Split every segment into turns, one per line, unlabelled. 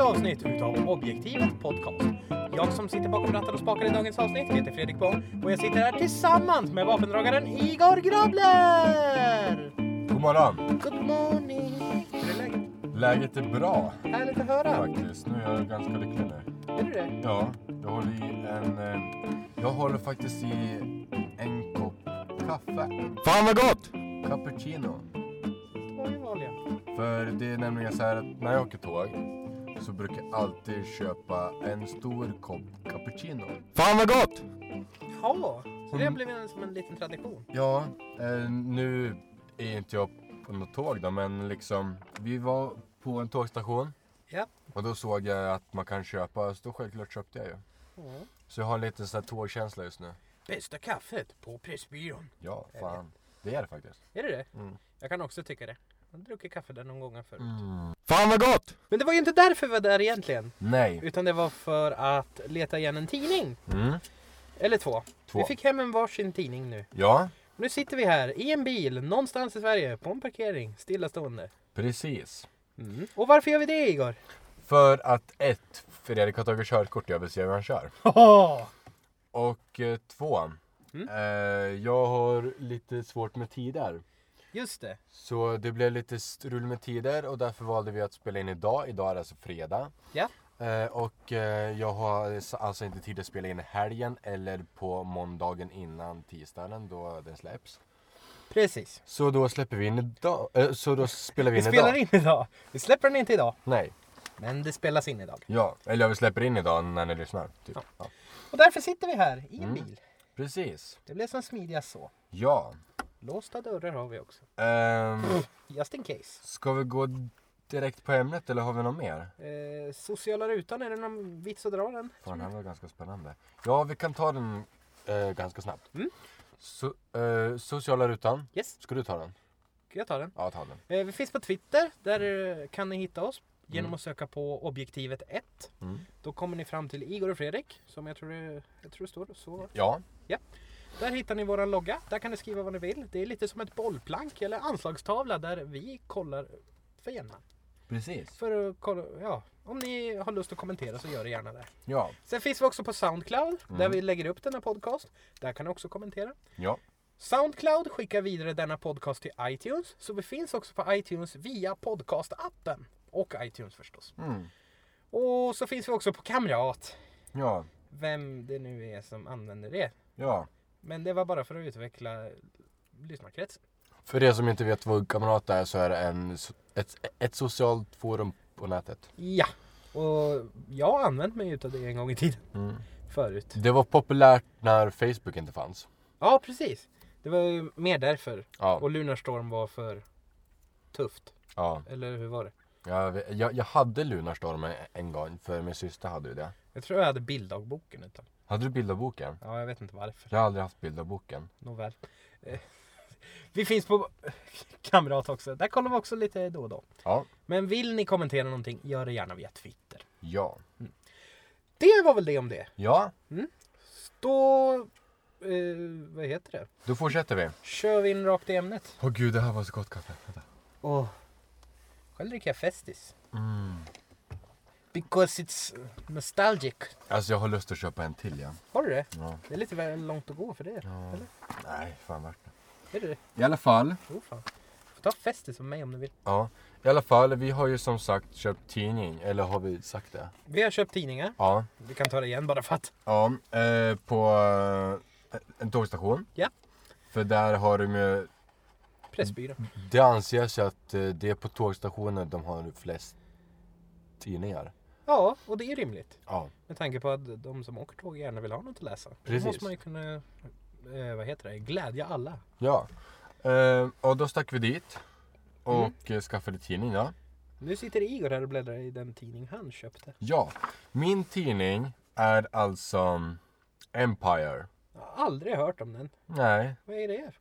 avsnitt utav Objektivet Podcast. Jag som sitter bakom ratten och spakar i dagens avsnitt heter Fredrik Bong och jag sitter här tillsammans med vapendragaren Igor Grabler!
God morgon!
Good morning! Hur är läget?
Läget är bra
Härligt att höra!
faktiskt. Nu är jag ganska lycklig nu.
Är du det?
Ja, jag håller i en... eh, Jag håller faktiskt i en kopp kaffe.
Fan vad gott!
Cappuccino.
Det var ju vanliga.
För det är nämligen så här att när jag åker tåg så brukar jag alltid köpa en stor kopp cappuccino.
Fan vad gott!
Ja, så det har blivit en- som en liten tradition.
Ja, eh, nu är inte jag på något tåg då, men liksom vi var på en tågstation
Ja.
och då såg jag att man kan köpa, så då självklart köpte jag ju.
Mm.
Så jag har en liten sån här tågkänsla just nu.
Bästa kaffet på Pressbyrån.
Ja, fan. Det är det faktiskt.
Är det det?
Mm.
Jag kan också tycka det. Jag har druckit kaffe där någon gång förut.
Fan vad gott!
Men det var ju inte därför vi var där egentligen.
Nej.
Utan det var för att leta igen en tidning.
Mm.
Eller två.
Två.
Vi fick hem en varsin tidning nu.
Ja,
Nu sitter vi här i en bil någonstans i Sverige på en parkering stillastående.
precis.
Mm. Och varför gör vi det Igor?
För att ett, Fredrik har tagit körkort jag vill se hur han kör. Och eh, två,
Mm.
eh, jag har lite svårt med tider.
Just det.
Så det blev lite strul med tider och därför valde vi att spela in idag. Idag är det alltså fredag.
Ja.
Eh, och eh, jag har s- alltså inte tid att spela in i helgen eller på måndagen innan tisdagen då den släpps.
Precis.
Så då släpper vi in idag. Eh, så då spelar vi
Vi
in
spelar
idag.
in idag. Vi släpper den inte idag.
Nej.
Men det spelas in idag.
Ja, eller vi släpper in idag när ni lyssnar. Typ.
Ja.
Ja.
Och därför sitter vi här i en
Mm.
bil.
Precis.
Det blev som smidigast så.
Ja.
Låsta dörrar har vi också.
Ehm,
Just in case.
ska vi gå direkt på ämnet eller har vi något mer?
Eh, sociala rutan, är det någon vits att dra den?
Fan, den här var ganska spännande. Ja, vi kan ta den eh, ganska snabbt.
Mm.
So, eh, sociala rutan.
Yes,
Ska du ta den?
ska jag ta den?
Ja, ta den.
Eh, vi finns på Twitter. Där eh, kan ni hitta oss genom att söka på objektivet 1.
Mm.
Då kommer ni fram till Igor och Fredrik, som jag tror det, jag tror det står. Så.
Ja,
Där hittar ni våran logga. Där kan ni skriva vad ni vill. Det är lite som ett bollplank eller anslagstavla där vi kollar för gärna.
precis.
För att kolla, ja, om ni har lust att kommentera så gör det gärna där.
Ja,
Sen finns vi också på Soundcloud där
Mm.
vi lägger upp denna podcast. Där kan ni också kommentera.
ja,
Soundcloud skickar vidare denna podcast till iTunes, så vi finns också på iTunes via podcastappen. Och iTunes förstås.
mm.
Och så finns vi också på Kamrat.
ja,
Vem det nu är som använder det.
ja.
Men det var bara för att utveckla lyssnarkretsen.
För er som inte vet vad Kamrat är så är det en, so- ett, ett socialt forum på nätet.
Ja, och jag har använt mig utav det en gång i tiden.
Mm.
Förut.
Det var populärt när Facebook inte fanns.
Ja, precis. Det var ju mer därför.
Ja,
Och Lunarstorm var för tufft.
ja.
Eller hur var det?
Jag, vet- jag, jag hade Lunarstorm en gång, för min syster hade ju det.
Jag tror jag hade bilddagboken ett tag.
Hade du bilderboken?
Ja, jag vet inte varför.
Jag har aldrig haft bilderboken.
Nåväl. Eh, Vi finns på Kamrat också. Där kollar vi också lite då och då.
Ja,
Men vill ni kommentera någonting, gör det gärna via Twitter.
ja,
Det var väl det om det.
ja.
Då... Eh, vad heter det?
Då fortsätter vi.
Kör vi in rakt i ämnet.
Åh gud, det här var så gott kaffe. Vänta.
Åh. Själv dricker jag Festis.
Mm.
Because it's nostalgic.
Alltså jag har lust att köpa en till ja.
Har du det?
ja.
Det är lite väl långt att gå för det. Eller?
Nej, fan värt det.
Är det det?
I alla fall.
Jo fan. Får ta Festis som mig om du vill.
Ja. I alla fall, vi har ju som sagt köpt tidning. Eller har vi sagt det?
Vi har köpt tidningar.
Ja.
Vi kan ta det igen bara för att.
Ja, eh, på eh, en tågstation.
Ja.
För där har de ju...
Pressbyrån.
Det anses ju att eh, det är på tågstationer de har flest tidningar.
Ja, och det är rimligt.
Ja.
Med tanke på att de som åker tåg gärna vill ha något att läsa. Precis.
Precis.
Då måste man ju kunna, eh, vad heter det, glädja alla.
Ja. Eh, och då stack vi dit. Och eh, skaffade tidning då.
Nu sitter Igor här och bläddrar i den tidning han köpte.
Ja, min tidning är alltså Empire.
Jag har aldrig hört om den.
Nej,
Vad är det?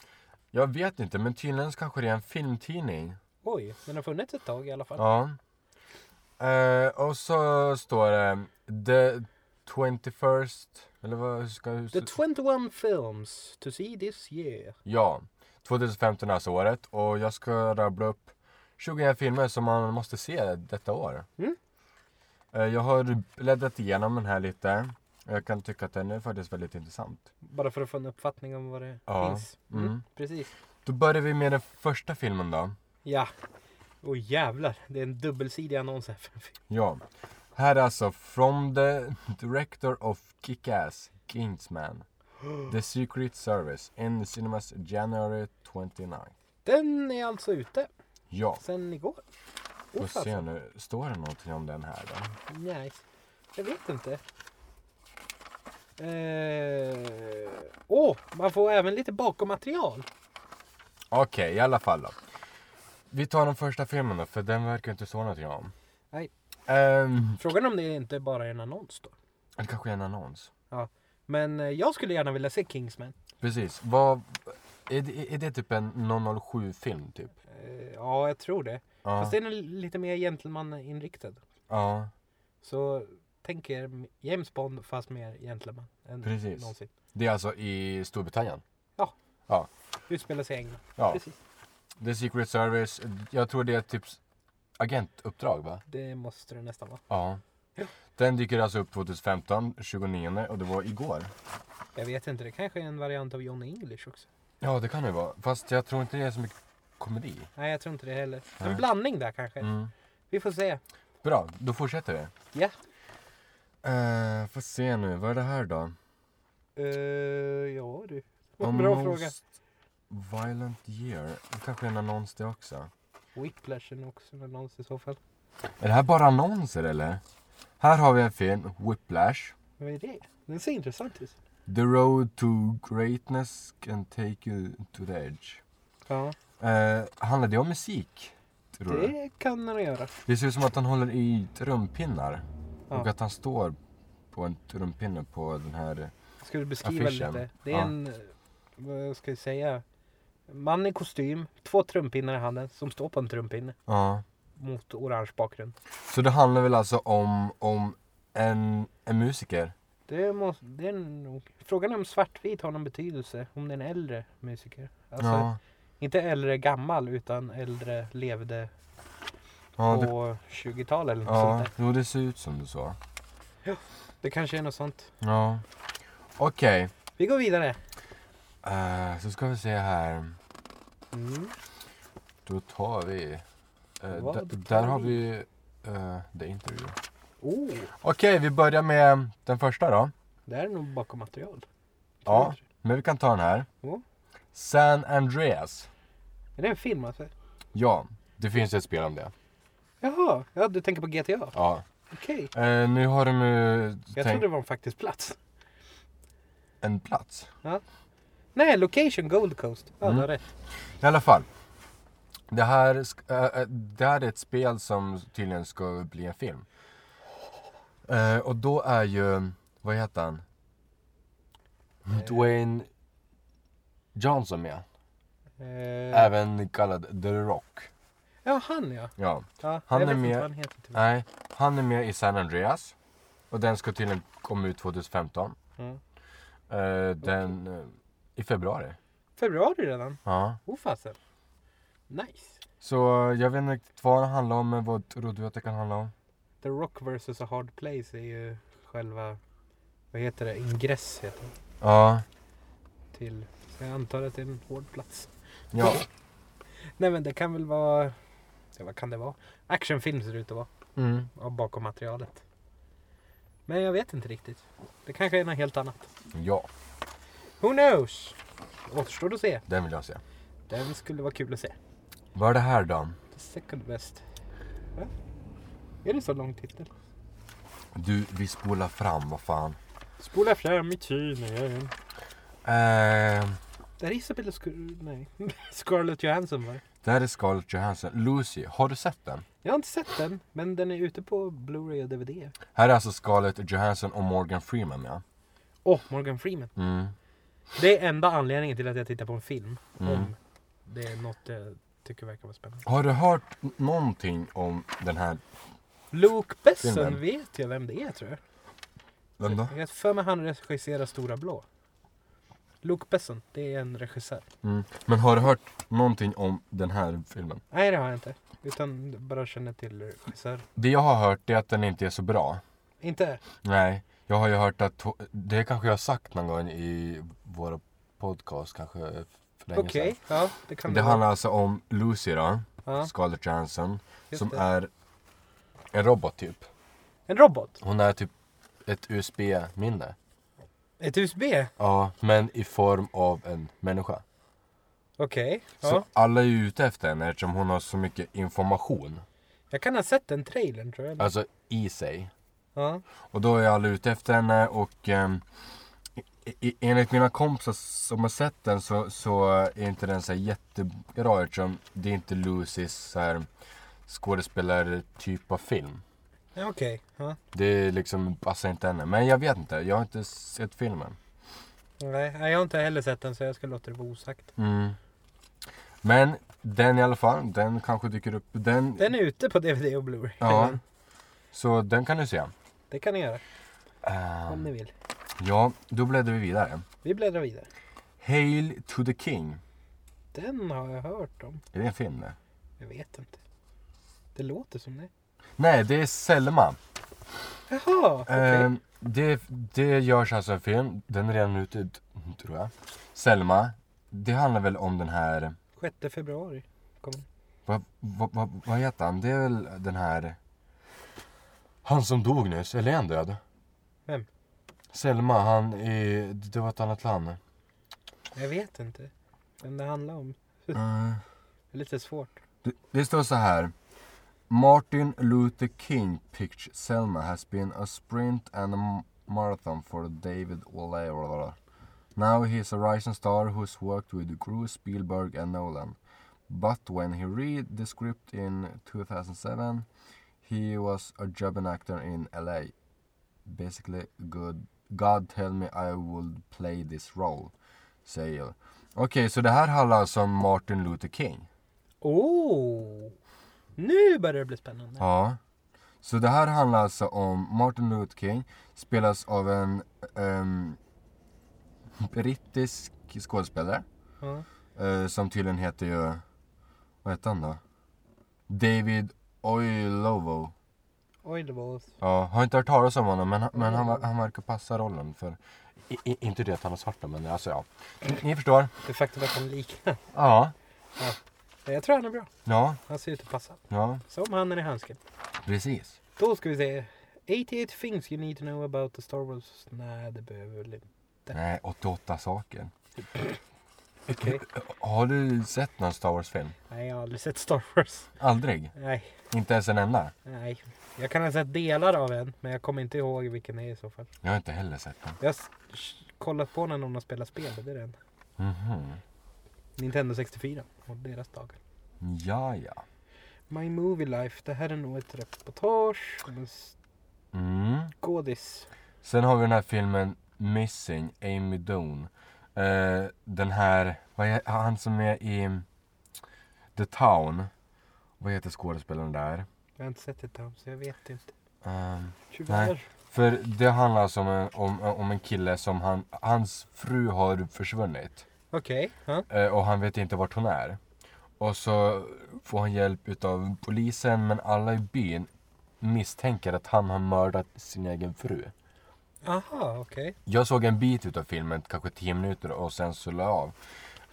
jag vet inte, men tydligen så kanske det är en filmtidning.
Oj, den har funnits ett tag i alla fall.
Ja. Eh, och så står det The 21st, eller vad ska jag...
The 21 films to see this year.
Ja, 2015 är alltså året och jag ska rabbla upp 21 filmer som man måste se detta år.
Mm.
Eh, Jag har bläddrat igenom den här lite. Och Jag kan tycka att den är faktiskt väldigt intressant.
Bara för att få en uppfattning om vad det
Ja.
finns. Mm.
Mm.
Precis.
Då börjar vi med den första filmen då.
Ja. Åh jävlar, det är en dubbelsidig annons här. för en film.
Ja. Här är alltså From the Director of Kick-Ass, Kingsman. The Secret Service in the cinemas January 29.
Den är alltså ute
Ja,
sen igår.
får
Uff,
se
alltså.
nu. Står det någonting om den här då?
Nice. Jag vet inte. Åh, eh... åh, man får även lite bakom material.
Okej, i alla fall då. Vi tar den första filmen då, för den verkar inte stå någonting om.
Nej.
Ehm,
Frågan om det inte bara är en annons då.
det kanske är en annons.
Ja. Men eh, jag skulle gärna vilja se Kingsman.
Precis. Vad... Är det, är det typ en 007-film typ?
Eh, ja, jag tror det.
Ja.
Fast den är lite mer gentleman-inriktad.
Ja,
Så tänk er James Bond fast mer gentleman än
Precis.
någonsin.
det är alltså i Storbritannien.
Ja,
Ja.
utspelar sig i England.
ja.
Precis.
The Secret Service, jag tror det är typ agentuppdrag va?
Det måste det nästan vara.
Ja. Den dyker alltså upp 2015, 29 och det var igår.
Jag vet inte, det kanske är en variant av Johnny English också.
Ja, det kan det vara. Fast jag tror inte det är så mycket komedi.
Nej, jag tror inte det heller. En blandning där kanske.
Mm.
Vi får se.
Bra, då fortsätter vi.
Ja.
Uh, får se nu, vad är det här då?
Eh, ja du. Vad Bra fråga.
Violent year. Det kanske är en annons det också.
Whiplashen också en annons i så fall.
Är det här bara annonser eller? Här har vi en film, Whiplash.
Vad är det? Den ser intressant ut.
The road to greatness can take you to the edge.
Ja,
Eh, handlar det om musik? Tror du?
det kan den göra.
Det ser ut som att han håller i trumpinnar.
Ja.
Och att han står på en trumpinne på den här...
Ska du beskriva
Affischen.
lite? Det är
Ja.
en, eh, vad ska jag säga, man i kostym, två trumpinnar i handen som står på en trumpinne
Ja.
mot orange bakgrund.
Så det handlar väl alltså om, om en, en musiker?
Det, måste, det är nog, frågan är om svartvit har någon betydelse, om det är en äldre musiker. Alltså,
ja.
inte äldre gammal utan äldre levde
Ja, det,
på 20-talet eller något
ja.
sånt där.
Jo, det ser ut som du sa.
Det kanske är något sånt.
Ja. Okej.
Vi går vidare.
eh, så ska vi se här.
Mm.
Då tar vi... eh,
Vad
d-
tar
där har
vi?
vi eh, The Interview.
Oh,
Okej, vi börjar med den första då.
det här är nog bakom material.
Ja, men vi kan ta den här.
Ja.
San Andreas.
Är det en film alltså?
Ja, det finns ett spel om det.
Jaha, ja, du tänker på GTA?
Ja.
Okej.
Eh, nu har de ju
Jag
tänkt
trodde det var en faktisk plats.
en plats.
Nej, location Gold Coast.
Mm.
Ja, du har rätt.
I alla fall. Det här, sk- eh, eh, det här är ett spel som tydligen ska bli en film. Eh, och då är ju, vad heter han? Dwayne Johnson med.
Eh,
Även kallad The Rock.
ja, han ja.
Ja.
ja
Han
jag
är
vet
med-
Inte vad han heter, tyvärr.
Nej, han är med i San Andreas. Och den ska tydligen komma ut 2015.
Mm.
Eh, den eh, i februari.
Februari redan?
Ja.
Oh fasen. Nice.
Så eh, jag vet inte riktigt vad den handlar om, men vad tror du att det kan handla om?
The Rock vs A Hard Place är ju själva, vad heter det, ingress heter det.
Ja.
Till, så jag antar att det är en hård plats.
Ja.
Nej men det kan väl vara, ja, vad kan det vara? Actionfilm ser det ut att vara,
Mm.
av bakom materialet. Men jag vet inte riktigt. Det kanske är något helt annat.
Ja,
Who knows? Återstår att se.
den vill jag se.
Den skulle vara kul att se.
Vad är det här då?
The second best. Va? Är det så lång titel?
Du, vi spolar fram, vad fan.
Spola fram i tiden igen.
Eh,
Där är Isabella Sk- nej. Scarlett Johansson var
det här är Scarlett Johansson. Lucy, har du sett den?
Jag har inte sett den, men den är ute på Blu-ray och DVD.
Här är alltså Scarlett Johansson och Morgan Freeman med.
Åh, oh, Morgan Freeman.
Mm.
Det är enda anledningen till att jag tittar på en film.
Mm.
Om det är något jag tycker verkar vara spännande.
Har du hört n- någonting om den här?
Luke Besson
Filmen.
vet jag vem det är tror jag.
Vem då?
Jag har för mig han regisserar Stora Blå. Luke Besson, det är en regissör.
Mm. Men har du hört någonting om den här filmen?
Nej, det har jag inte. Utan bara känner till regissör.
Det jag har hört är att den inte är så bra.
Inte?
Nej, jag har ju hört att... ho- Det kanske jag har sagt någon gång i våra podcast, kanske för länge
Okej,
sedan.
ja, det kan
Det
vara.
handlar alltså om Lucy då,
Ja,
Scarlett Johansson,
just
som
det.
är en robot typ.
En robot?
Hon är typ ett USB-minne.
Ett USB? Okej,
Ja, men i form av en människa.
ja.
Så alla är ju ute efter henne eftersom hon har så mycket information.
Jag kan ha sett den trailern tror jag.
Alltså i sig.
Ja.
Och då är alla ute efter henne och ehm, i- i- enligt mina kompisar som har sett den så, så är inte den så här jättebra eftersom det är inte Lucys så här skådespelartyp av film.
Ja, Okej, ja.
Det är liksom passar inte henne. Men jag vet inte, jag har inte sett filmen.
Nej, nej, jag har inte heller sett den så jag ska låta det vara osagt.
Mm. Men den i alla fall, den kanske dyker upp. Den,
Den är ute på DVD och Blu-ray.
ja. Så den kan du se.
Det kan ni göra
Ehm,
om ni vill.
ja, då bläddrar vi vidare.
Vi bläddrar vidare.
Hail to the King.
Den har jag hört om.
Är det en film det?
Jag vet inte. Det låter som det.
Nej, det är Selma.
Jaha, okej.
Ehm, det, det görs alltså en film, den är redan ute tror jag. Selma, det handlar väl om den här,
6 februari kommer
vad, vad, vad, vad heter han? Det är väl den här, han som dog nyss, eller är han död?
Vem?
Selma, han i, det var ett annat land.
Jag vet inte. Vem det handlar om.
Ehm,
Det är lite svårt.
Det, det står så här. Martin Luther King picture Selma has been a sprint and a m- marathon for David O'Leary. Now he is a rising star who's worked with Cruz, Spielberg and Nolan. But when he read the script in 2007, he was a jobbing actor in LA. Basically, good, God tell me I would play this role, säger. Okej, så det här handlar alltså om Martin Luther King.
Oh! Nu börjar det bli spännande.
Ja. Så det här handlar alltså om Martin Luther King, spelas av en ehm, brittisk skådespelare.
Ja.
eh, som tydligen heter ju, vad heter han då? David Oyelowo.
Oj, det var...
Ja, har inte hört talas om honom men, han- men han, ver- han verkar passa rollen för, i, i, inte det att han är svart då, men alltså ja. Ni, ni förstår.
Det faktum att han liknar.
Ja.
Jag tror han är bra.
Ja,
Han ser ut att passa.
ja,
Som handen i handsken.
precis.
Då ska vi se. 88 things you need to know about the Star Wars. Nej, det behöver väl inte.
Nej, 88 saker.
Okej.
Har du sett någon Star Wars-film?
Nej, jag har aldrig sett Star Wars.
Aldrig?
Nej,
Inte ens en enda?
nej. Jag kan ha sett delar av en, men jag kommer inte ihåg vilken det är i så fall.
Jag har inte heller sett den.
Jag har s- sh- kollat på när någon har spelat spel, det är den.
Mhm.
Nintendo 64 och deras dagar.
Ja, ja.
My Movie Life, det här är nog ett reportage om en
Mm.
skådis.
Sen har vi den här filmen Missing, Amy Doan. Eh, den här, vad är, han som är i The Town. Vad heter skådespelaren där?
Jag har inte sett det här, så jag vet inte.
Ehm,
Tyvärr.
för det handlar alltså om en, om, om en kille som han, hans fru har försvunnit.
Okej, ja.
Eh, och han vet inte vart hon är. Och så får han hjälp utav polisen men alla i byn misstänker att han har mördat sin egen fru.
Aha, okej.
Jag såg en bit utav filmen, kanske 10 minuter och sen så la jag av.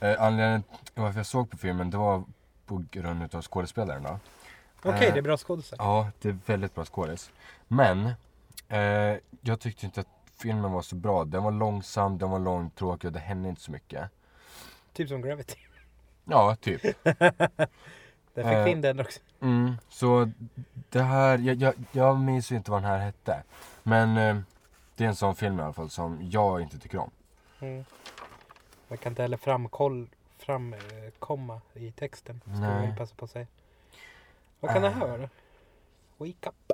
Eh, anledningen till varför jag såg på filmen det var på grund utav skådespelaren då.
Okej,
Eh.
det är bra skådisar.
Ja, det är väldigt bra skådis. Men, eh, jag tyckte inte att filmen var så bra. Den var långsam, den var långtråkig och det hände inte så mycket.
Typ som Gravity.
Ja, typ.
Där fick
Eh.
vi in den också.
Mm, så det här, jag, jag, jag minns ju inte vad den här hette. Men eh, det är en sån film i alla fall som jag inte tycker om.
Mm. Jag kan inte heller framkoll, framkomma i texten. Skulle jag
Nej.
väl passa på att säga. Vad kan det här
Äh.
vara? Wake up.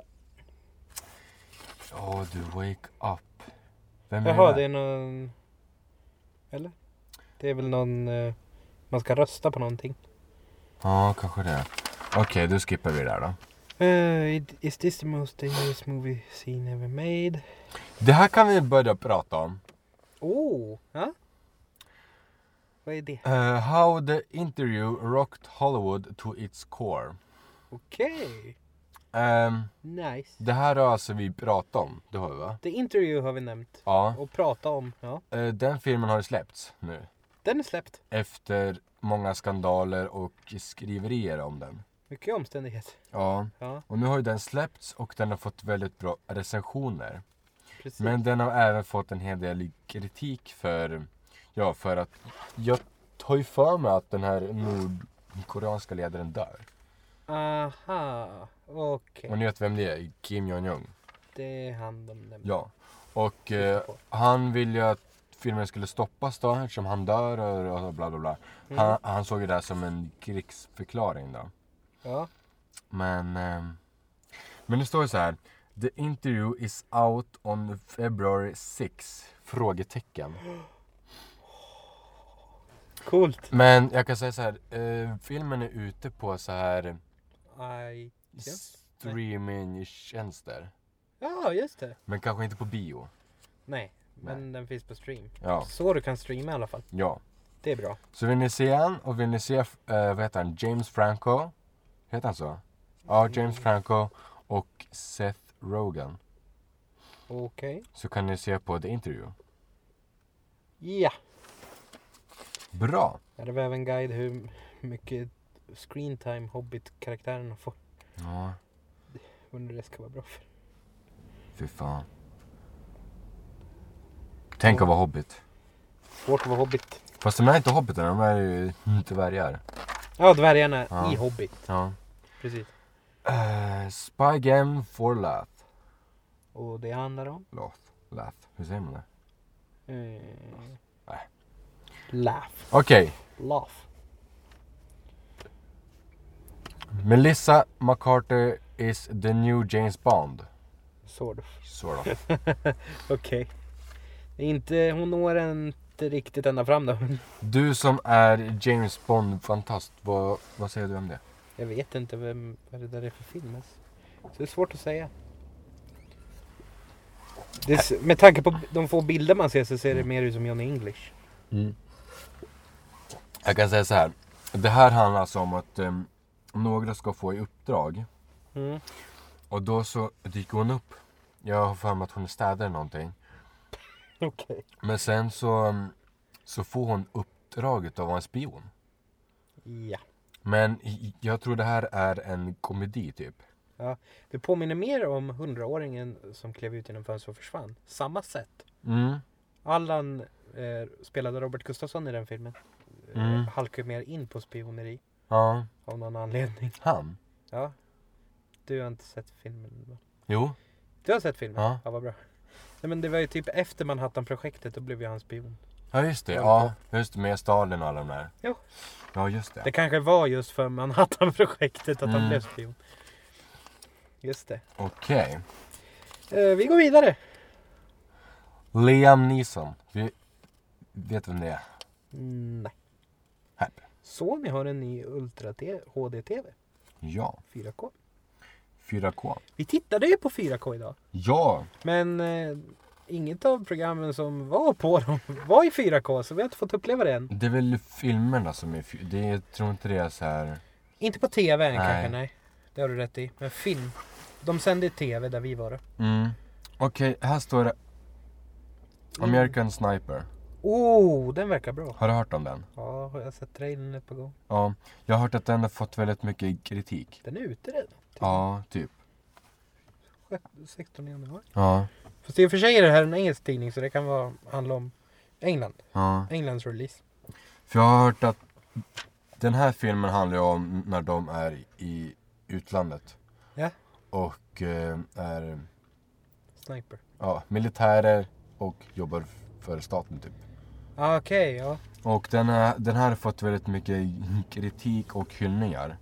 Ja du, Wake Up. Vem
Jaha,
där?
det är någon... Eller? Det är väl någon... eh, Man ska rösta på någonting.
Ja, kanske det. Okej, då skippar vi det där då.
Eh, it- is this the most dangerous movie scene ever made?
Det här kan vi börja prata om.
Oh! Ja? Vad är det?
Uh, how the interview rocked Hollywood to its core.
Okej.
Ehm,
Nice.
det här har alltså vi pratat om, det har vi va?
The Interview har vi nämnt.
Ja.
Och prata om. Ja.
Eh, den filmen har ju släppts nu.
Den är släppt.
Efter många skandaler och skriverier om den.
Mycket omständighet.
Ja.
Ja,
Och nu har ju den släppts och den har fått väldigt bra recensioner.
precis.
Men den har även fått en hel del kritik för, ja för att jag tar ju för mig att den här nordkoreanska ledaren dör.
Aha. Okej.
Och ni vet vem det är? Kim Jong-Un.
Det är han de nämnde.
Ja. Och eh, han ville ju att filmen skulle stoppas då eftersom han dör och, och bla bla bla.
Mm,
Han, han såg ju det här som en krigsförklaring då.
Ja.
Men, ehm, men det står ju så här. The interview is out on February 6? Frågetecken.
Coolt.
Men jag kan säga så här. Eh, filmen är ute på så här
I... Ja.
streamingtjänster.
ja, just det.
Men kanske inte på bio.
Nej, men den finns på stream.
Ja.
Så du kan streama i alla fall.
Ja.
Det är bra.
Så vill ni se han och vill ni se, eh, vad heter han, James Franco? Heter han så? Ja, James Franco och Seth Rogen.
Okej.
Så kan ni se på The Interview.
Ja.
Bra!
Ja, det var även guide hur mycket screen time Hobbit-karaktärerna får.
Ja,
Undrar det ska vara bra för.
fy fan. Tänk att vara hobbit.
Svårt att vara Hobbit.
Fast de är inte hobbitar, de är ju dvärgar.
Ja, dvärgarna
Ja.
i Hobbit.
Ja.
Precis.
Uh, spy game for laugh.
Och det handlar om?
Laugh. Laugh. Hur säger man det?
Eh...
Nej.
Laugh.
Okej.
Laugh.
Melissa McCarthy is the new James Bond.
Sort of.
Så då.
Okej. Inte, hon når inte riktigt ända fram då.
Du som är James Bond-fantast, vad, vad säger du om det?
Jag vet inte vem, vad det där är för film ens. Så det är svårt att säga. Det, är s- med tanke på de få bilder man ser så ser det mer ut som Johnny English.
Jag kan säga så här. Det här handlar alltså om att em, några ska få i uppdrag.
Mm.
Och då så dyker hon upp. Jag har för mig att hon är städare eller någonting.
Okej.
Men sen så, em, så får hon uppdraget av en spion.
Ja.
Men i- jag tror det här är en komedi typ.
ja. Det påminner mer om hundraåringen som klev ut genom fönstret och försvann. Samma sätt.
Mm.
Allan eh, spelade Robert Gustafsson i den filmen. Mm.
Mm.
Eh, halkar mer in på spioneri
Ja,
av någon anledning.
han.
Ja. Du har inte sett filmen va?
Jo.
Du har sett filmen?
Ja.
Ja, vad bra. Nej men det var ju typ efter Manhattan-projektet, då blev ju han spion.
Ja just det. Ja, just det. Med Stalin och alla de där.
Jo.
Ja just det.
Det kanske var just för Manhattan-projektet att
Mm.
han blev spion. Just det.
Okej.
Eh, vi går vidare.
Liam Neeson. Vi vet vem det är.
Mm, nej.
Här.
Sony har en ny Ultra HD-TV.
Ja.
4K.
4K.
Vi tittade ju på 4K idag.
Ja.
Men eh, inget av programmen som var på dem var i 4K så vi har inte fått uppleva det än.
Det är väl filmerna som är... fy- Det, jag tror inte det är så här...
Inte på TV än
Nej.
kanske, nej. Det har du rätt i. Men film. De sände i TV där vi var då.
Mm. Okej, här står det. American Sniper.
Oh, den verkar bra.
Har du hört om den?
Ja, jag har sett trailern ett par gånger.
Ja. Jag har hört att den har fått väldigt mycket kritik.
Den är ute redan.
Ja, typ.
Sjätte- 16 januari.
Ja.
Fast i och för sig är det här en engelsk tidning så det kan vara, handla om England.
ja.
Englands release.
För jag har hört att den här filmen handlar ju om när de är i utlandet.
Ja.
Och eh, är
Sniper.
ja, militärer och jobbar för staten typ.
Ah, Okej, ja.
Och den här, den här har fått väldigt mycket kritik och hyllningar.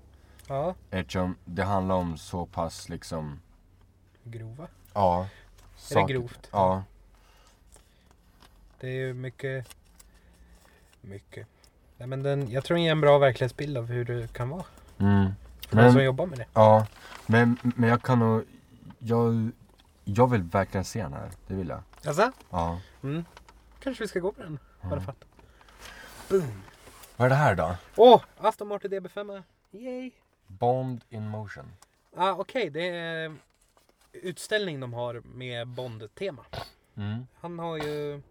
Ja.
Eftersom det handlar om så pass liksom,
Grova.
ja. saker.
grovt?
Ja.
Det är ju mycket... Mycket. Nej, men den, jag tror den ger en bra verklighetsbild av hur det kan vara.
Mm.
För de som
Men,
jobbar med det.
ja. Men, men jag kan nog, jag, jag vill verkligen se den här. Det vill jag.
Alltså?
Ja.
Mm. Kanske vi ska gå på den. Har du fattat? Boom.
Vad är det här då?
Åh, Aston Martin DB5. Yay!
Bond in motion.
Ah, Okej, det är utställning de har med Bond-tema.
Mm.
Han har ju...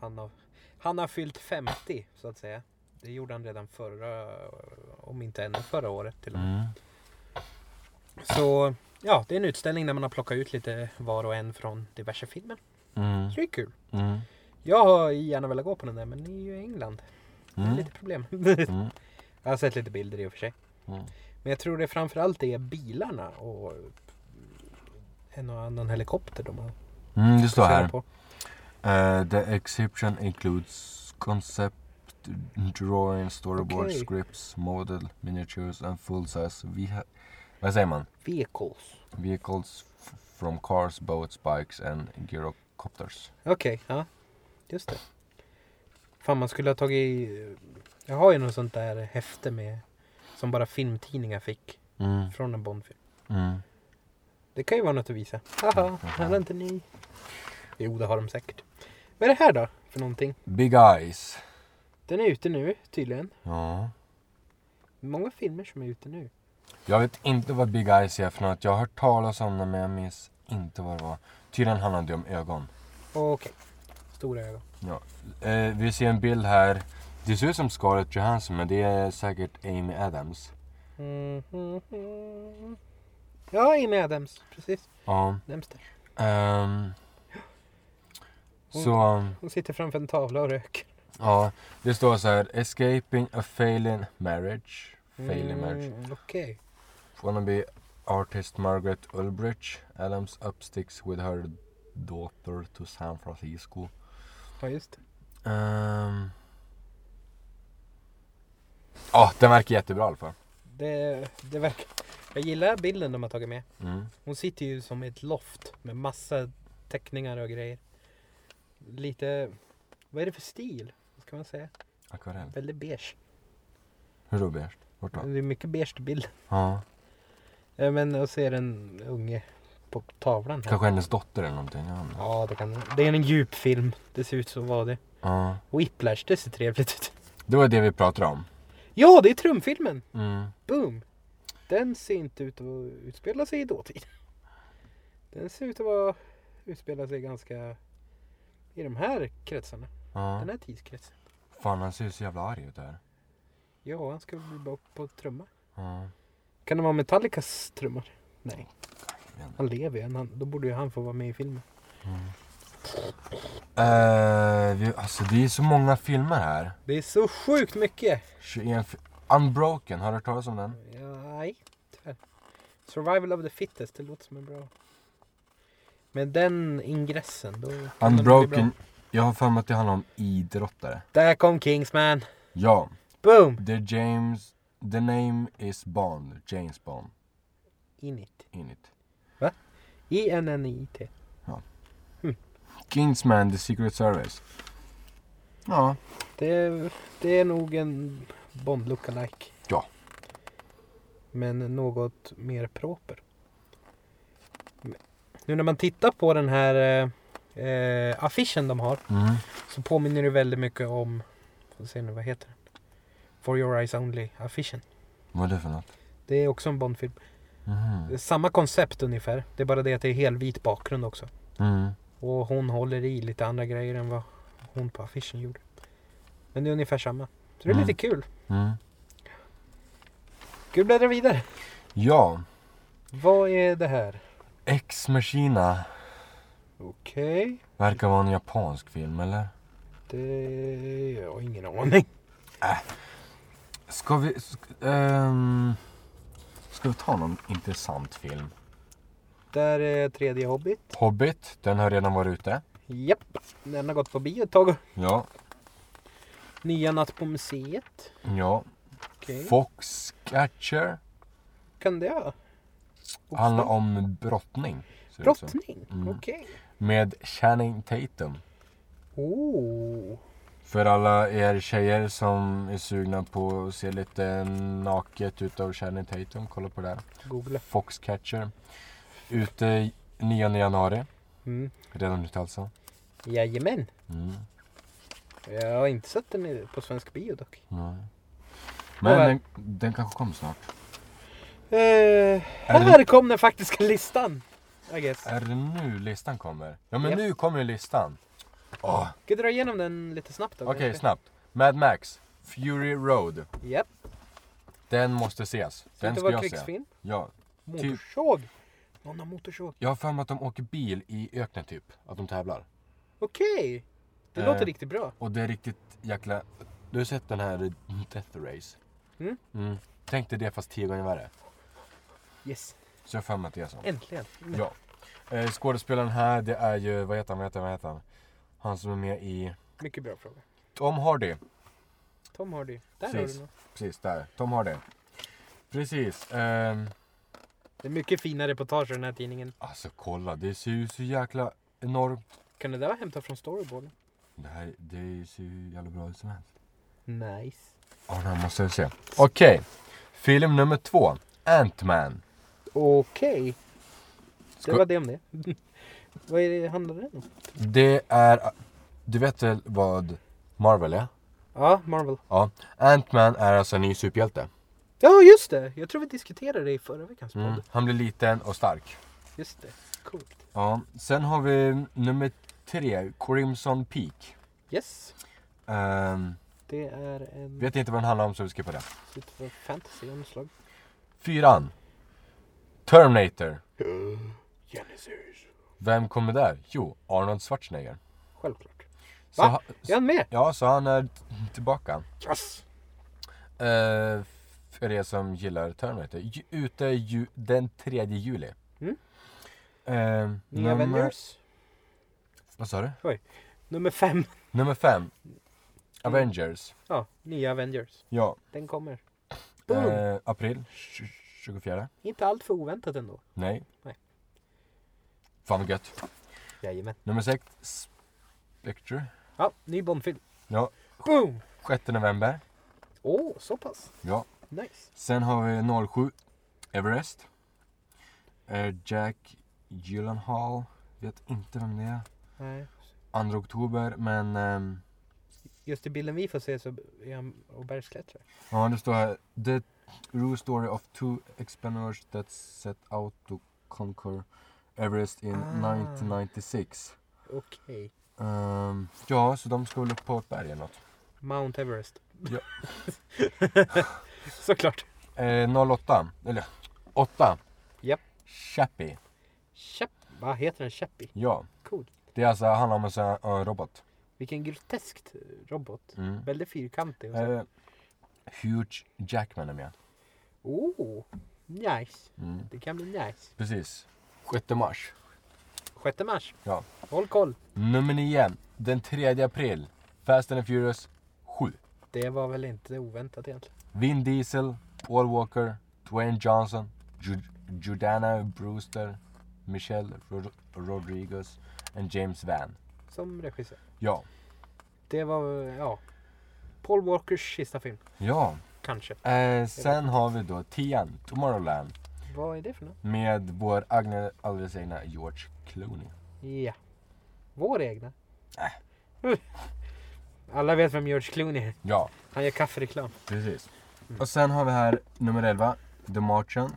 Han har, han har fyllt 50 så att säga. Det gjorde han redan förra, om inte ännu förra året till och med.
Mm.
Så ja, det är en utställning där man har plockat ut lite var och en från diverse filmer.
Mm.
Så det är kul.
Mm.
Jag har gärna velat gå på den där men ni är ju i England. Det är
Mm.
lite problem.
Mm.
Jag har sett lite bilder i och för sig.
Mm.
Men jag tror det framförallt är bilarna och en och annan helikopter de har
Mm, det står här.
på.
Uh, the exhibition includes concept drawing, storyboard,
Okej.
scripts, model, miniatures and full-size vehi- Vad säger man?
Vehicles.
Vehicles f- from cars, boats, bikes and gyrocopters.
Okej, ja. Just det. Fan man skulle ha tagit... eh, Jag har ju något sånt där häfte med som bara filmtidningar fick
Mm.
från en Bondfilm.
Mm.
Det kan ju vara något att visa. Haha, hade inte ni? Jo, det har de säkert. Vad är det här då för någonting?
Big Eyes.
Den är ute nu tydligen.
Ja.
Många filmer som är ute nu.
Jag vet inte vad Big Eyes är för något. Jag har hört talas om det men jag minns inte vad det var. Tydligen handlade det om ögon.
Okej. Stora ögon.
Ja. Eh, vi ser en bild här. Det ser ut som Scarlett Johansson men det är säkert Amy Adams.
Mm, mm, mm. Ja, Amy Adams. Precis.
Ja.
Nämns där.
Ehm, så,
Hon sitter framför en tavla och röker.
ja. Det står så här. Escaping a failing marriage. Failing marriage.
Mm, Okej.
Wannabe artist Margaret Ulbrich. Adams upsticks with her daughter to San Francisco.
Ja, just det.
Ehm. Ja, den verkar jättebra i alla fall.
det. Det verkar... Jag gillar bilden de har tagit med.
Mm.
Hon sitter ju som i ett loft med massa teckningar och grejer. Lite... Vad är det för stil? Vad ska man säga?
Akvarell. Mm.
Väldigt beige.
Hur då Björn? Vart då?
Det är mycket beige bild.
Ja,
Eh, Men och så är det en unge på tavlan här.
kanske hennes dotter eller någonting. Ja. men-
Ja, det kan Det är en djup film. Det ser ut så vad det.
Ja.
Whiplash, det ser trevligt ut.
Det var det vi pratade om.
Ja, det är trumfilmen!
Mm.
Boom! Den ser inte ut att utspela sig i dåtid. Den ser ut att vara, utspela sig ganska i de här kretsarna.
Ja.
Den här tidskretsen.
Mm. Fan, han ser ju så jävla arg ut där.
Ja, han ska bli bra på trumma.
Ja.
Kan det vara Metallicas trummor? Nej,
jag vet
han lever ju. än. Han, då borde ju han få vara med i filmen.
Eh, vi, alltså det är så många filmer här.
Det är så sjukt mycket!
21 fi- Unbroken, har du hört talas om den?
Ja, nej, tyvärr. Survival of the fittest, det låter som en bra... Med den ingressen då... kan den bli
Unbroken,
bra.
jag har för mig att det handlar om idrottare.
Där kom Kingsman!
Ja,
Boom!
the James, the name is Bond, James Bond,
Init.
in it.
I-N-N-I-T.
Kingsman, the secret service. Ja.
Det, det är nog en Bond lookalike.
Ja.
Men något mer proper. Men- Nu när man tittar på den här eh, eh, affischen de har
Mm.
så påminner det väldigt mycket om, får se nu, vad heter den? For your eyes only affischen.
Vad är det för något?
Det är också en Bondfilm. Det
Mhm.
är Samma koncept ungefär. Det är bara det att det är helvit bakgrund också.
Mm.
Och hon håller i lite andra grejer än vad hon på affischen gjorde. Men det är ungefär samma. Så det är
Mm.
lite kul.
Mm.
Kul bläddra vidare.
Ja,
Vad är det här?
Ex Machina
Okej.
verkar vara en japansk film, eller?
Det... Jag har ingen aning.
Ska vi... Sk- ehm, ska vi ta någon intressant film?
Där är tredje Hobbit.
Hobbit, den har redan varit ute.
Japp. Den har gått på bio ett tag.
Ja.
Nya Natt på museet.
Ja.
Okej.
Foxcatcher
Kan det vara?
handlar om brottning. ser det ut som.
Brottning?
Mm.
Okej.
Med Channing Tatum.
Oh.
För alla er tjejer som är sugna på att se lite naket utav Channing Tatum, kolla på det. här.
Googla.
Foxcatcher. Ute 9 januari.
Mm.
Redan ute alltså.
Jajamän.
Mm.
Jag har inte sett den i- på svensk bio dock.
Nej. Men
Nåväl.
den, den kanske kommer snart.
Eh,
Är
här kom den faktiska listan. I guess.
Är det nu listan kommer? Ja men
Japp.
nu kommer ju listan. Åh,
Ska jag dra igenom den lite snabbt då?
Okej
kanske?
snabbt. Mad Max, Fury Road.
Japp.
Den måste ses.
Ska
Den
inte
ska
vara
jag se. Typ.
krigsfilm.
Ja.
Motorsåg. Någon har motorsåg.
Jag har för mig att de åker bil i öknen typ. Att de tävlar.
Okej. Det
Eh.
låter riktigt bra.
Och det är riktigt jäkla... Du har sett den här Death Race?
Mm.
Tänk dig det fast tio gånger värre.
Yes.
Så jag har för mig att det är så.
Äntligen.
Ja. Eh, skådespelaren här det är ju, vad heter han, vad heter han, vad heter han? Han som är med i
Mycket bra fråga.
Tom Hardy.
Tom Hardy. Där har
Precis.
du något.
Precis, där. Tom Hardy. Precis. Ehm,
Det är mycket fina reportage i den här tidningen.
alltså kolla, det ser ju så jäkla enormt.
Kan det där vara hämtat från storyboarden?
Det här, det ser ju jävla bra ut som helst.
Nice.
Ja, den här måste jag se. Okej. Film nummer två. Ant-Man.
Okej.
Ska-
Det var det om det. Vad är det, handlar den om?
Det är, du vet väl vad Marvel är?
Ja, Marvel.
Ja. Ant-Man är alltså en ny superhjälte.
Ja, just det! Jag tror vi diskuterade det i förra veckans podd.
Mm. Han blir liten och stark.
Just det. Coolt.
Ja, sen har vi nummer tre, Crimson Peak.
Yes.
Ehm,
Det är en
vet inte vad den handlar om så vi skippar det.
lite fantasy omslag.
Fyran, Terminator.
Genesis.
Vem kommer där? Jo, Arnold Schwarzenegger.
Självklart.
Så,
Va?
ha-
Är han med?
ja, så han är tillbaka.
Yes!
Eh, för er som gillar Terminator. Ju- Ute ju, den 3 juli.
Mm.
Ehm,
Nya Avengers.
Vad sa du?
Nummer fem.
Nummer fem. Avengers.
Ja, nya Avengers.
Ja.
Den kommer. Boom!
Eh, april 24.
Inte allt för oväntat ändå.
Nej.
Nej.
Fan vad gött.
Jajamän.
Nummer sex. Spectre.
Ja, ny Bondfilm.
Ja.
Boom!
6 november.
Åh, oh, så pass.
Ja.
Nice.
Sen har vi 07. Everest. Eh, Jack Gyllenhaal. Vet inte vem det är.
Nej.
2 oktober men... ehm,
Just i bilden vi får se så är han och bergsklättrar.
Ja, det står här. The true story of two explorers that set out to conquer Everest in
Ah.
1996.
Okej.
Ehm, ja, så de ska väl upp på ett berg eller något.
Mount Everest.
Ja.
Såklart.
Eh, 08, eller 8.
Japp.
Chappie.
Käpp. Vad heter den? Käppi?
Ja.
Cool.
Det är alltså, handlar om en sån här eh, robot.
Vilken groteskt eh, robot.
Mm.
Väldigt fyrkantig. och så.
Eh, Huge Jackman är med.
Oh, nice.
Mm.
Det kan bli nice.
Precis. 6 mars.
6 mars.
Ja.
Håll koll.
Nummer 9. Den 3 april. Fast and the Furious 7.
Det var väl inte oväntat egentligen.
Vin Diesel, Paul Walker, Dwayne Johnson, Ju- Jordana Brewster, Michelle Rod- Rodriguez and James Van.
Som regissör.
Ja.
Det var, ja. Paul Walkers sista film.
Ja.
Kanske.
Eh, sen har vi då tian, Tomorrowland,
Vad är det för något?
med vår Agne alldeles egna George Clooney.
Ja. Vår egna.
Äh.
Alla vet vem George Clooney är.
Ja,
Han gör kaffereklam.
precis. Och sen har vi här nummer 11, The Martian.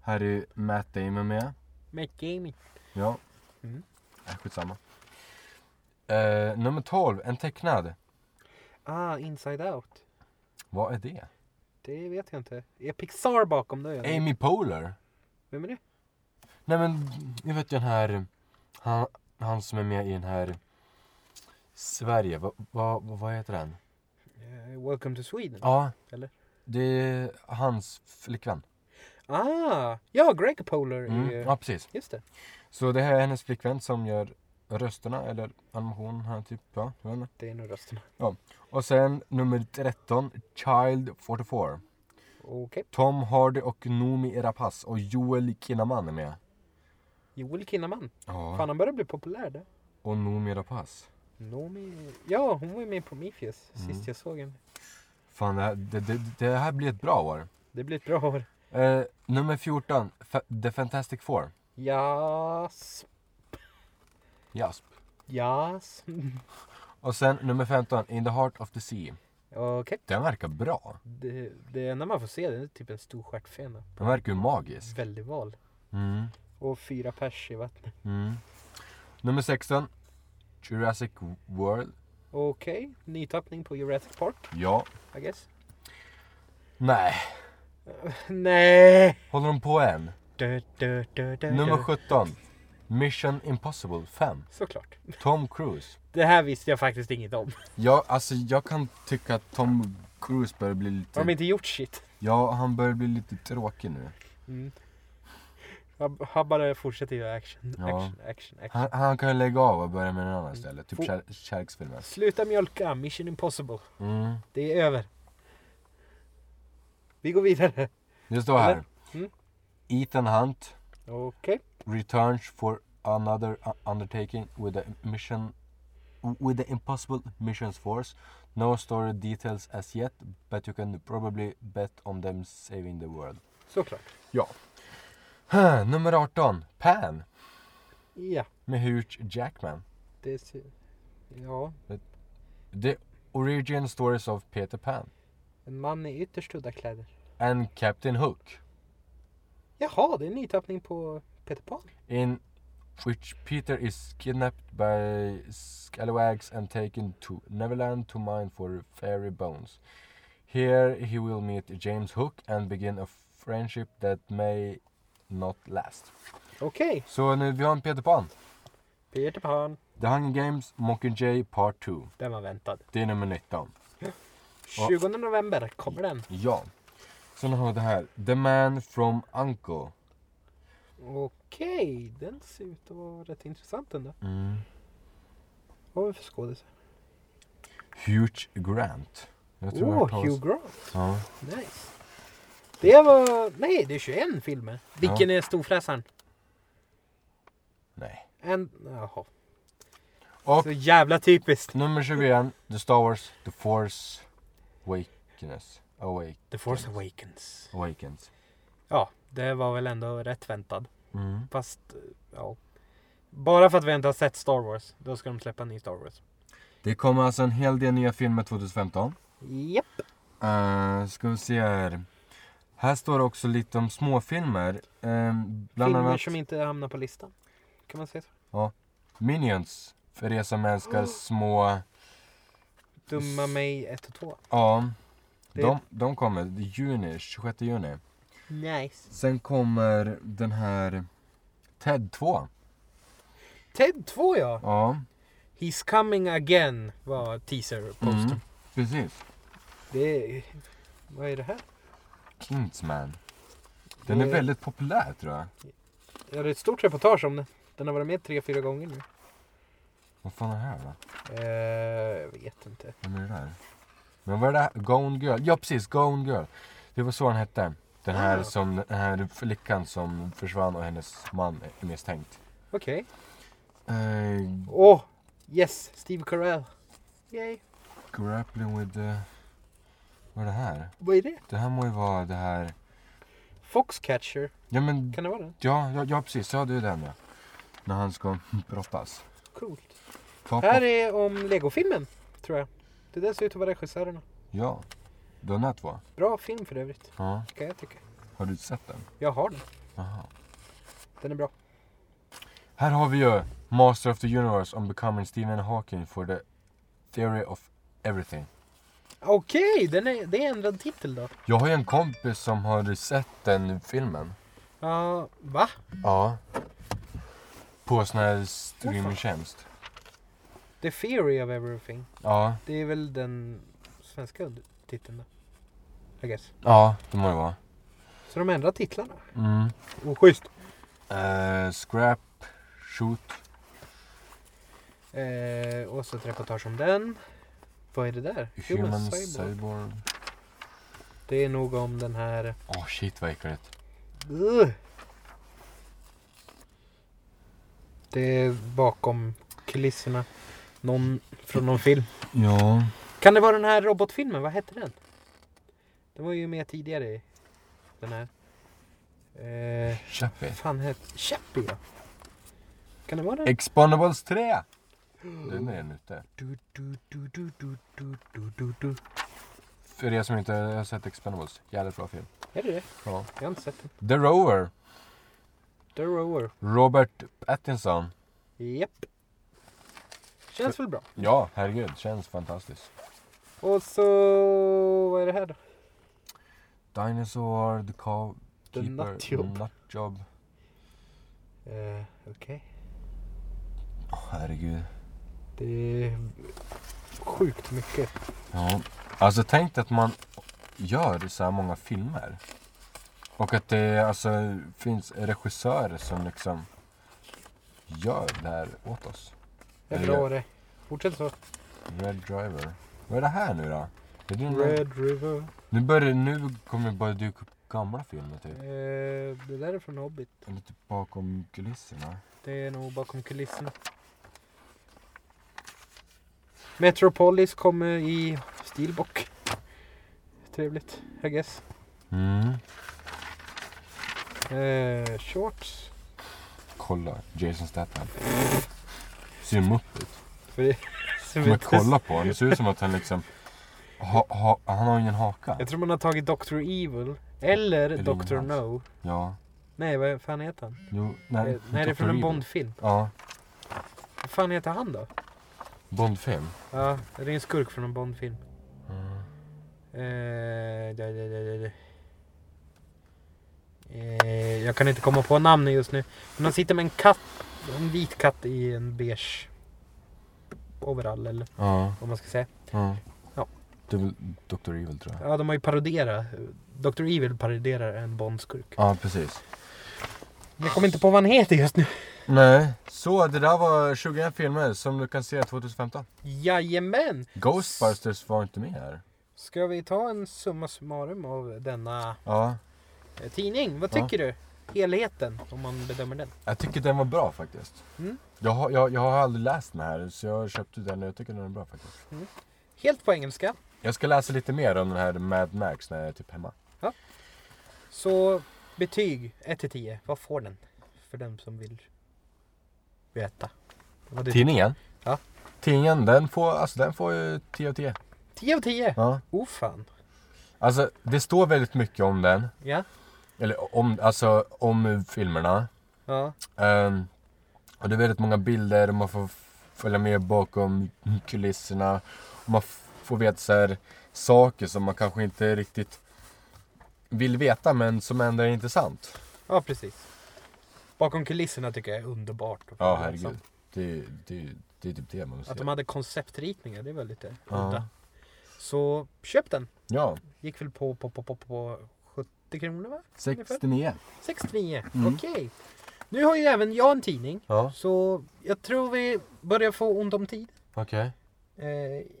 Här är ju Matt Damon med.
Matt Gaming.
Ja.
Mm.
Äh, skitsamma. Eh, nummer 12, en tecknad.
Ah, Inside Out.
Vad är det?
Det vet jag inte. Är Pixar bakom det? eller?
Amy Poehler?
Vem är det?
Nej men, ni vet ju den här, han, han som är med i den här Sverige, vad va, va, vad heter den?
Eh, Welcome to Sweden.
Ja,
Eller?
det är hans flickvän.
Ah! Ja, Greg Polar.
Mm.
Är,
Ja, precis.
Just det.
Så det här är hennes flickvän som gör rösterna eller animationen här typ, ja, jag vet inte.
Det är nog rösterna.
Och sen nummer 13, Child 44.
Okej.
Tom Hardy och Noomi Rapace och Joel Kinnaman är med.
Joel Kinnaman. Fan,
Ja,
han börjar bli populär där.
och Noomi Rapace.
Noomi... Ja, hon var ju med i Prometheus sist
Mm.
jag såg henne.
Fan, det här, det, det, det här blir ett bra år.
Det blir ett bra år.
Eh, nummer 14, Fa- The Fantastic Four.
Jas.
Jasp.
Jas.
Och sen nummer 15, In the Heart of the Sea.
Okej.
Den verkar bra.
Det, det enda man får se det är typ en stor stjärtfena.
Den verkar ju magisk.
Väldigt val.
Mm.
Och fyra pers i vattnet.
Mm. Nummer 16, Jurassic World.
Okej, nytappning på Jurassic Park,
Ja.
I guess.
Nej.
Nej!
Håller de på än?
Du, du, du, du,
Nummer
du.
17, Mission Impossible 5.
Såklart.
Tom Cruise.
Det här visste jag faktiskt inget om.
Ja, alltså jag kan tycka att Tom Cruise börjar bli lite...
Har de inte gjort shit?
Ja, han börjar bli lite tråkig nu.
Mm. Han- Han bara fortsätter göra action,
Ja.
action, action, action.
Han, han kan ju lägga av och börja med en annan istället. Typ
Fo-
kär, kärleksfilmer.
Sluta mjölka, Mission Impossible.
Mm.
Det är över. Vi går vidare.
Det står här.
Mm.
Ethan Hunt
Okej.
returns for another u- undertaking with the mission with the impossible missions force. No story details as yet, but you can probably bet on them saving the world.
Såklart.
Ja. Nummer 18. Pan
Ja,
med Hugh Jackman.
det ser... Ja,
The origin stories of Peter Pan
en man i ytterst udda kläder.
and Captain Hook.
Jaha, det är en nytappning på Peter Pan.
in which Peter is kidnapped by scalawags and taken to Neverland to mine for fairy bones. Here he will meet James Hook and begin a friendship that may not last.
Okej,
Så nu, vi har en Peter Pan.
Peter Pan.
The Hunger Games Mockingjay Part 2.
Den var väntad.
Det är nummer 19.
20 november kommer den.
Ja. Sen har vi det här. The Man from Uncle.
Okej, den ser ut att vara rätt intressant ändå. Vad har vi för skådis?
Hugh Grant. Jag tror jag har hört
Åh,
talas-
Hugh Grant.
Ja.
Nice. Det var... Nej, det är 21 filmer. Vilken är storfräsaren?
Nej.
En... Jaha.
Och
Så jävla typiskt.
Nummer 21, The Star Wars, The Force Awakens. Awake,
The Force Awakens.
awakens.
Ja, det var väl ändå rätt väntad.
Mm.
Fast, ja. Bara för att vi inte har sett Star Wars, då ska de släppa en ny Star Wars.
Det kommer alltså en hel del nya filmer 2015.
Japp.
Uh, ska vi se här. Här står det också lite om småfilmer. Ehm, bland
Filmer
annat
som inte hamnar på listan. Kan man säga så?
Minions. För er som älskar små...
Dumma mig 1 och 2.
Ja.
Det-
De, de kommer i juni, 26 juni.
Nice.
Sen kommer den här Ted 2.
Ted 2 ja.
Ja,
He's coming again var teaser-posten.
Mm. precis.
Det är... Vad är det här?
Kingsman. Den är
Det-
väldigt populär tror jag.
Jag hade ett stort reportage om den. Den har varit med tre, fyra gånger nu.
Vad fan är det här då?
Eh, jag vet inte.
Vem är det där? Men vad är det här? Gone Girl? Ja precis, Gone Girl. Det var så han hette. Den här,
Ah.
som, den här flickan som försvann och hennes man är misstänkt.
Okej.
Eh,
Åh! yes! Steve Carell. Yay.
grappling with the... Vad är det här?
Vad är det?
Det här må ju vara det här...
Foxcatcher.
Ja men...
Kan det vara den?
Ja, ja, ja precis. Ja det är den ja. När han ska brottas.
Coolt.
Ta
Här
på-
är om Lego-filmen, tror jag. Det där ser ut att vara regissörerna.
Ja. Den här två.
Bra film för övrigt,
Ja.
kan jag tycka.
Har du sett den?
Jag har den.
Aha.
Den är bra.
Här har vi ju Master of the Universe on becoming Stephen Hawking for the theory of everything.
Okej, den är, det är ändrad titel då.
Jag har ju en kompis som har sett den filmen.
Ja, va?
Ja. På sån här streamingtjänst.
The Theory of Everything.
Ja,
Det är väl den svenska under- titeln då? I guess.
ja det må det vara.
Så de ändrar titlarna.
Mm.
Oh, schysst.
Eh, scrap, shoot.
Eh, och så ett reportage om den. Vad är det där?
Human, cyborg.
cyborg. Det är nog om den här...
Åh shit vad äckligt.
Ugh. Det är bakom kulisserna. Någon från någon film.
Ja.
Kan det vara den här robotfilmen? Vad hette den? Den var ju med tidigare. i Den här. Eh,
Chappie.
fan hette... Chappie ja. Kan det vara den?
Exponables 3! Den är nytt det.
Du, du, du, du, du, du, du, du, du.
För er som inte har sett Expendables, jävligt bra film.
Är det det?
Ja.
Jag har inte sett den.
The Rover,
The Rover.
Robert Attinson.
Japp. Känns väl bra.
Ja, herregud, känns fantastiskt.
Och så... Vad är det här då?
Dinosaur, The Cow...
The Nutjob.
Nutjob.
Eh, Okej.
Åh, herregud.
Det är sjukt mycket.
Ja. Alltså tänk dig att man gör så här många filmer. Och att det alltså, finns regissörer som liksom gör det här åt oss.
Jag
Eller-
drar det. Fortsätt så.
Red Driver. Vad är det här nu då? Är det en-
Red River.
Nu, börjar, nu kommer det bara dyka upp gamla filmer typ.
Eh, det där är från Hobbit.
Eller typ bakom kulisserna.
Det är nog bakom kulisserna. Metropolis kommer i stilbock. Trevligt, I guess.
Mm.
Eh, shorts.
Kolla, Jason Statham. Ser mupp ut.
För det, så
Men
vet jag-
kolla på honom, det ser ut som att han liksom... Ha, ha, han har ingen haka.
Jag tror man har tagit Dr. Evil. Eller
det
Dr.
Jonas?
No.
Ja.
Nej, vad fan heter han?
Jo,
Nej,
nej.
eh, nej det är från en
Dr. Evil.
Bondfilm.
Ja.
Vad fan heter han då?
Bondfilm?
Ja, det är en skurk från en Bondfilm.
Mm.
Eh, da, da, da, da, da. Eh, jag kan inte komma på namnen just nu. Men han sitter med en katt, en vit katt i en beige overall eller
Ja.
vad man ska säga.
ja.
Ja.
Det är väl Dr. Evil tror jag.
Ja, de har ju parodierat. Dr. Evil paroderar en Bondskurk.
Ja, precis.
Jag kommer inte på vad han heter just nu.
Nej. Så, det där var 21 filmer som du kan se 2015.
Jajamän!
Ghostbusters var inte med här.
Ska vi ta en summa summarum av denna
Ja.
eh, tidning? Vad
Ja.
tycker du? Helheten, om man bedömer den.
Jag tycker den var bra faktiskt.
Mm.
Jag, har, jag, jag har aldrig läst den här, så jag köpte den och jag tycker den är bra faktiskt.
Helt på engelska.
Jag ska läsa lite mer om den här Mad Max när jag är typ hemma.
Så betyg 1 till 10, vad får den? För den som vill veta. Vad du,
Tidningen?
Ja.
Tidningen, den får, alltså, den får ju 10 av 10.
10 av 10!
Ja.
Oh fan.
Alltså, det står väldigt mycket om den.
Ja.
Eller om, alltså, om filmerna.
ja.
Ehm, och det är väldigt många bilder och man får f- följa med bakom kulisserna. Och man f- får veta så här, saker som man kanske inte riktigt vill veta men som ändå är intressant.
Ja precis. Bakom kulisserna tycker jag är underbart. att
Ja,
läsa.
herregud. Det, det, det är typ det man vill
Att
se.
de hade konceptritningar, det var lite
Ja.
udda. Så köp den.
Ja,
Gick väl på, på, på, på, på 70 kronor va?
69.
69,
Mm.
okej. Nu har ju även jag en tidning.
Ja,
Så jag tror vi börjar få ont om tid.
okej.
Eh,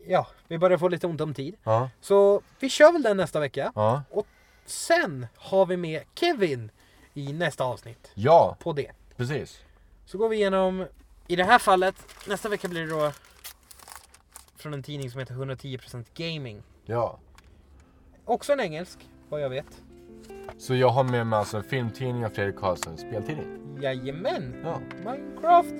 ja, vi börjar få lite ont om tid.
Ja,
Så vi kör väl den nästa vecka.
ja.
Sen har vi med Kevin i nästa avsnitt
Ja,
på det.
precis.
Så går vi igenom, i det här fallet, nästa vecka blir det då från en tidning som heter 110% Gaming.
Ja.
Också en engelsk, vad jag vet.
Så jag har med mig alltså filmtidning av Fredrik Karlsson, speltidning.
Jajamän!
Ja.
Minecraft!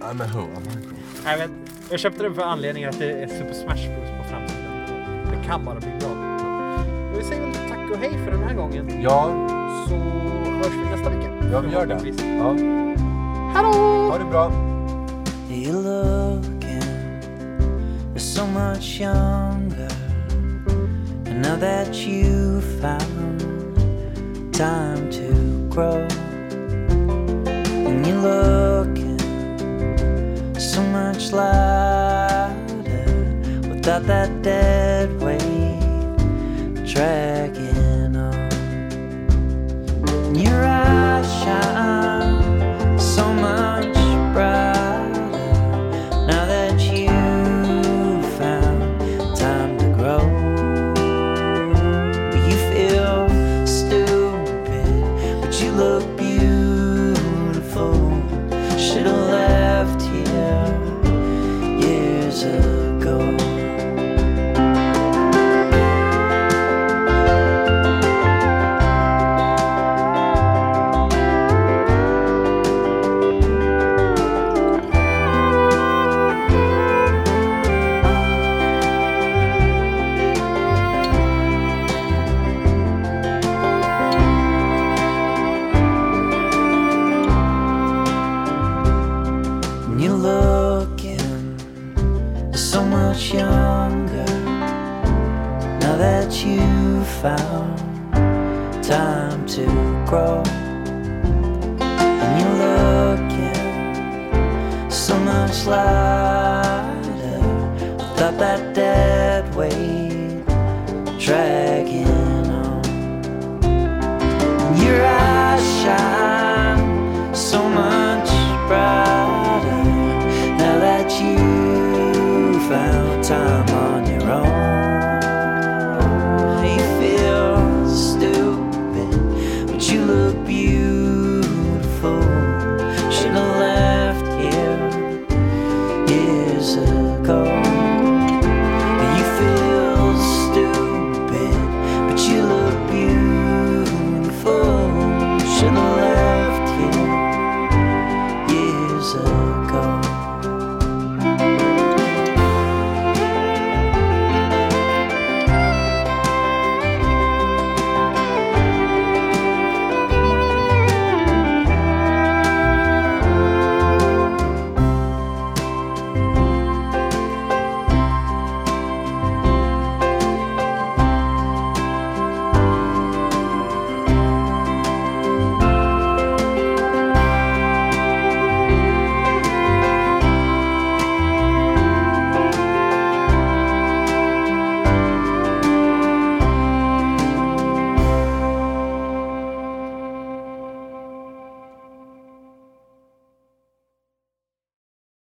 Ja, men hur? Ja, men hur?
Jag, vet, jag köpte den för anledningen att det är Super Smash Bros på framsidan. Det kan bara bli bra. Vi säger väl tack och hej för den här gången.
Ja,
Så hörs vi nästa vecka.
ja vi gör det.
Förhoppningsvis.
Ja.
Hallå!
Ha det bra.
You looking so much younger And now that you found time to grow And you're looking so much lighter Without that dead weight dragging on And Your eyes shine so much brighter now that you found time to grow. You feel stupid, but you look beautiful. Should have left here years ago. so much younger. Now that you found time to grow, and you're looking so much lighter without that dead weight dragging on. Your eyes shine so much brighter now that you found time on your own. You feel stupid, but you look beautiful. Should have left here years ago.